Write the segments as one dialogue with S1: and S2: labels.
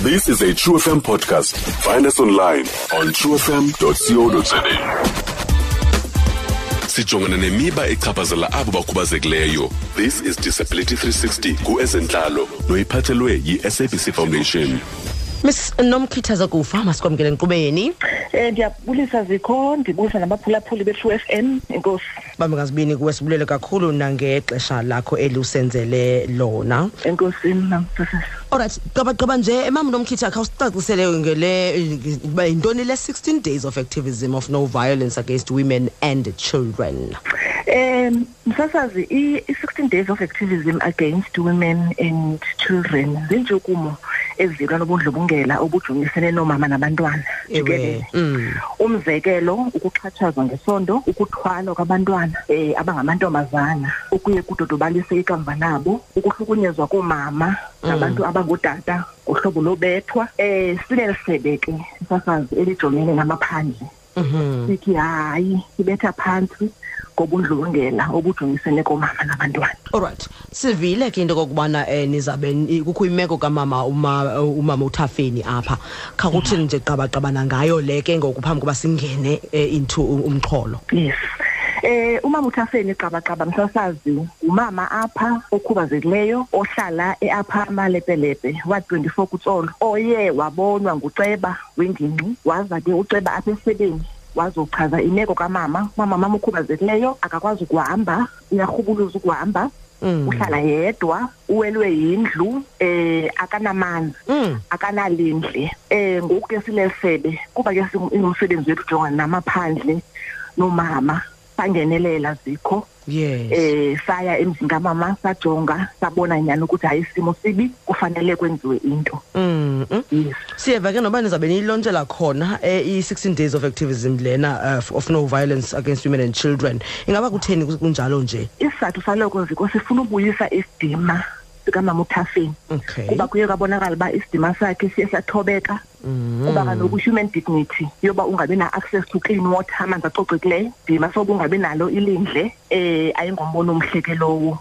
S1: This is a True FM podcast. Find us online on truefm.co.za. Sijongana nemiba echaphazela abo bakhubazekileyo. This is Disability 360 kuezentlalo noyiphathelwe yi-SABC Foundation.
S2: miss nomkhithaza kufa masikwamkele enkqubeni
S3: Eh ndiyabulisa zikho ndibusa nabaphulaphuli be-True FM inkosi
S2: bambingazibini kuwe sibulele kakhulu nangexesha lakho eliusenzele lona
S3: enkosini namsasasa
S2: olright qabaqaba nje emam nomkhitha khawusicacisele ngele uba yintoni le 16 days of activism of no violence against women and children
S3: um msasazi i-sixteen days of activism against women and children ziintshukumo ezilwa nobundlobongela obujonisene noomama nabantwana
S2: ewe
S3: jikelele
S2: mm.
S3: umzekelo ukuxhatshazwa ngesondo ukuthwalwa kwabantwana um abangamantombazana okuye kudodobalise ikamva nabo ukuhlukunyezwa koomama nabantu abangootata ngohlobo lobethwa um sileli sebe ke sasazi elijongene namaphandle
S2: Mhm.
S3: sithi hayi sibetha phantsi ngobundlobongela obujonisene koomama nabantwana
S2: olright sivile ke into kokubana um nizabe ni- kukho imeko kamama uma- umama uthafeni apha khawuthini nje qabaqabana ngayo le ke ngoku phambi koba singene eh, into u- umxholo
S3: yes Eh umama uthafeni qabaqaba msasazi umama apha okhubazekileyo ohlala eapha amalepelepe wa-24 kutsolo oye wabonwa nguceba wengingqi waza ke uceba apha esebeni wazochaza imeko kamama umama mama okhubazekileyo akakwazi ukuhamba uyarhubuluza ukuhamba
S2: Mm.
S3: uhlala yedwa uwelwe yindlu eh akanamanzi
S2: Mm.
S3: akanalindle eh ngoku ke silesebe kuba ke singumsebenzi wethu jongana namaphandle nomama sangenelela zikho
S2: yes
S3: eh saya emzini kamama sajonga sabona nyani ukuthi hayi isimo sibi kufanele kwenziwe into
S2: Mm, mm.
S3: yes
S2: siyeva ke noba nizabe niyilontshela khona eh, i-16 days of activism lena uh, f- of no violence against women and children ingaba kutheni ku- kunjalo nje
S3: isizathu saloko zikho sifuna ubuyisa isidima sikamama uthafeni
S2: okay
S3: kuba kuye kwabonakala uba isidima sakhe siye sathobeka
S2: Mm-hmm.
S3: kuba kaloku human dignity yoba ungabi na-access to clean water amanzi acocekileyo dima soba ungabi nalo ilindle um ayingombono omhle ke lowo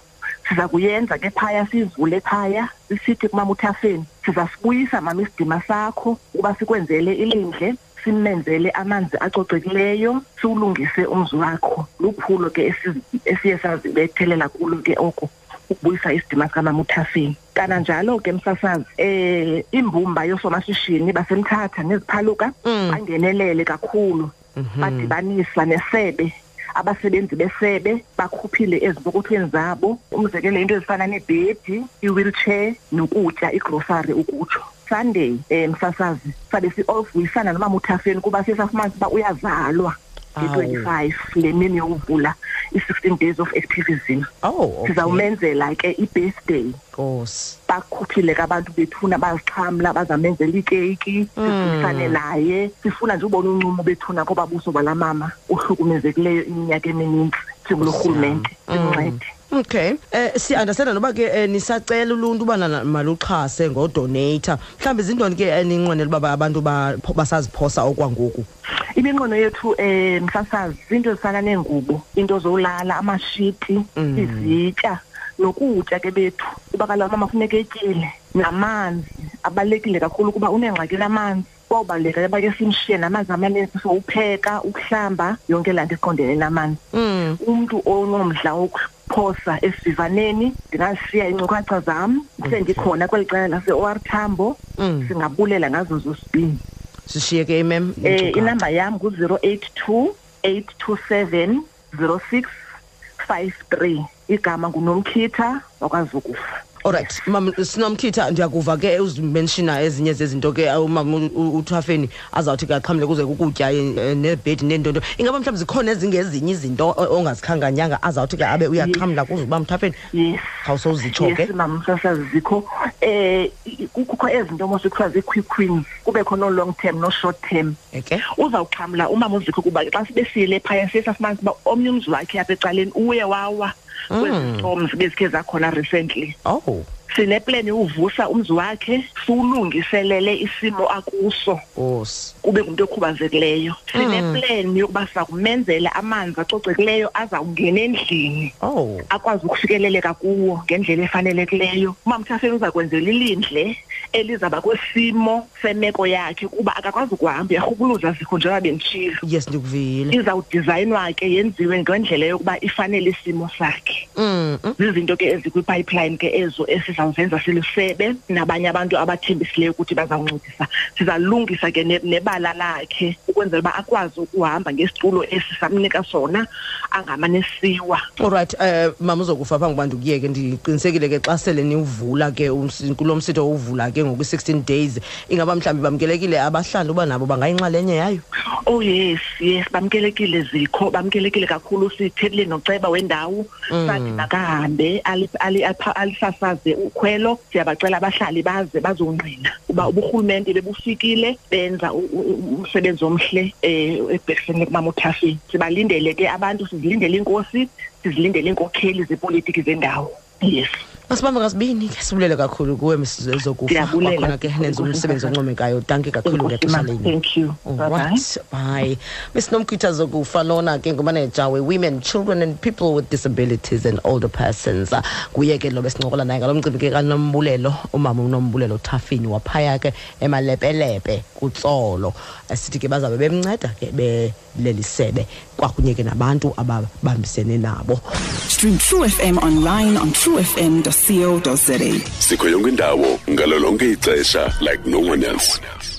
S3: siza kuyenza ke phaya siyivule phaya sisithi kumama uthafeni siza sibuyisa mama isidima sakho ukuba sikwenzele ilindle simenzele amanzi acocekileyo siwulungise umzi wakho luphulo ke esi- esiye sazibethelela kulo ke oko ukubuyisa isidima sikamama uthafeni kananjalo ke msasazi um imbumba yoosomashishini basemthatha neziphaluka
S2: Mm.
S3: bangenelele kakhulu
S2: Mhm.
S3: badibanisa nesebe abasebenzi besebe bakhuphile ezipokothweni zabo umzekelo into ezifana nebhedi i-wheelchair nokutya igrosari ukutsho sunday um msasazi sabe si-ofuyisana nomama uthafeni kuba siye safumanisa uba uyazalwa
S2: Awu.
S3: nge-twenty-five le mini yokuvula i-sixteen days of activism
S2: oh okay.
S3: sizawumenzela ke i-birthday
S2: Nkosi.
S3: bakhuphile ke abantu bethuna bazixhamla bazamenzela ikeyiki sifundisane naye sifuna nje ubona uncumo bethuna kobabuso bala mama ohlukumezekileyo iminyaka eminintsi singulo rhulumente simncede
S2: okay um siyiandastenda noba ke eh, nisacela uluntu ubana na- maluxhase ngodoneyitha mhlawumbi zintoni ke eninqwenela uba ba- abantu ba- pho- basaziphosa okwangoku
S3: iminqono yethu um msasazi ziinto ezifana neengubo iinto zolala amashiti
S2: Mm.
S3: izitya nokutya ke bethu kuba kaloku mama funeka etyile namanzi abalulekile kakhulu kuba unengxaki lamanzi kwawubaluleka uba ke simshiye namanzi amanintsi so upheka ukuhlamba yonke laa nto eqondene namanzi
S2: mm.
S3: umntu onomdla wokuphosa esivaneni ndingashiya iinkcukacha zam sendikhona kweli cala lase-o r tambo
S2: Mm.
S3: singabulela ngazo zosibini
S2: sishiye ke imem
S3: um inamba yam ngu-zero eight two eight two seven zero six five three igama ngunomkhitha wakwazokufa
S2: olright mam sinomkhitha ndiyakuva ke uzimenshina ezinye zezinto ke umam u- u- uthafeni azawuthi ke axhamle kuze kukutya eh, nebhedi neentonto ingaba mhlawumbi zikhona ezingezinye izinto o- ongazikhankanyanga azawuthi ke abe uyaxhamla kuze ukuba mthafeni
S3: yes
S2: Khawusowuzitsho ke.
S3: yes mam sasazikho um kukho ezinto mos kuthiwa zii-quick queens kubekho no-long term no-short term
S2: eke
S3: uzawuxhamla umama uzikho kuba xa sibesile phaya siye safumanisa uba omnye umzi wakhe apha ecaleni uye wawa kwezi-storms bezikhe zakhona recently
S2: oh
S3: sineplan yokuvusa umzi wakhe siwulungiselele isimo akuso
S2: nkosi
S3: kube ngumntu okhubazekileyo sineplan yokuba siza kumenzela amanzi acocekileyo azawungena endlini
S2: oh
S3: akwazi ukufikeleleka kuwo ngendlela efanelekileyo umamthafeni uza kwenzela ilindle elizaba kwesimo semeko yakhe kuba akakwazi ukuhamba uyarhukuluza zikho njengoba benditshilo
S2: yes ndikuvile
S3: izawudizayinwa ke yenziwe ngendlela yokuba ifanele isimo sakhe
S2: Mm, mm.
S3: Mm-hmm. zizinto ke ezikwi-pipeline ke ezo esizawuzenza silusebe nabanye abantu abathembisileyo ukuthi bazawuncedisa sizalungisa ke ne- nebala lakhe ukwenzela uba akwazi ukuhamba ngesitulo esi samnika sona angamane siwa
S2: olright um mama uzokufa phambi kuba ndikuyeke ndiqinisekile ke xa sele niwuvula ke umsi- kulo msitho uwuvula ke ngokwi-sixteen days ingaba mhlawumbi bamkelekile abahlali uba nabo bangayinxalenye yayo
S3: oh yes yes bamkelekile zikho bamkelekile kakhulu sithethelile noceba wendawo sathi makahambe ali- ali- apha- alisasaze ukhwelo siyabacela abahlali baze bazongqina uba uburhulumente bebufikile benza u- u- u- umsebenzi omhle um ebhekisene kumama uthafeni sibalindele ke abantu sizilindele inkosi sizilindele iinkokheli zepolitiki zendawo yes
S2: masibambe ngasibini ke sibulele kakhulu kuwe msezokufa
S3: Ndiyabulela.
S2: kwakhona ke nenza umsebenzi oncomekayo danke kakhulu ngexesha
S3: Enkosi, ma.
S2: leni
S3: thank you Bye-bye.
S2: Alright, bye. Ms. Nomkita Zokufa lona ke ngumaneja we-women children and people with disabilities and older persons Ah, nguye ke lo besincokola naye ngalo mcimbi ke kanombulelo umama unombulelo thafini waphaya ke emalepelepe kutsolo Eh, sithi ke bazabe bemnceda ke beleli sebe kwakunye ke nabantu ababambisene nabo
S4: Stream True FM online on truefm.co.za.
S1: sikho yonke indawo ngalo lonke ixesha like no one else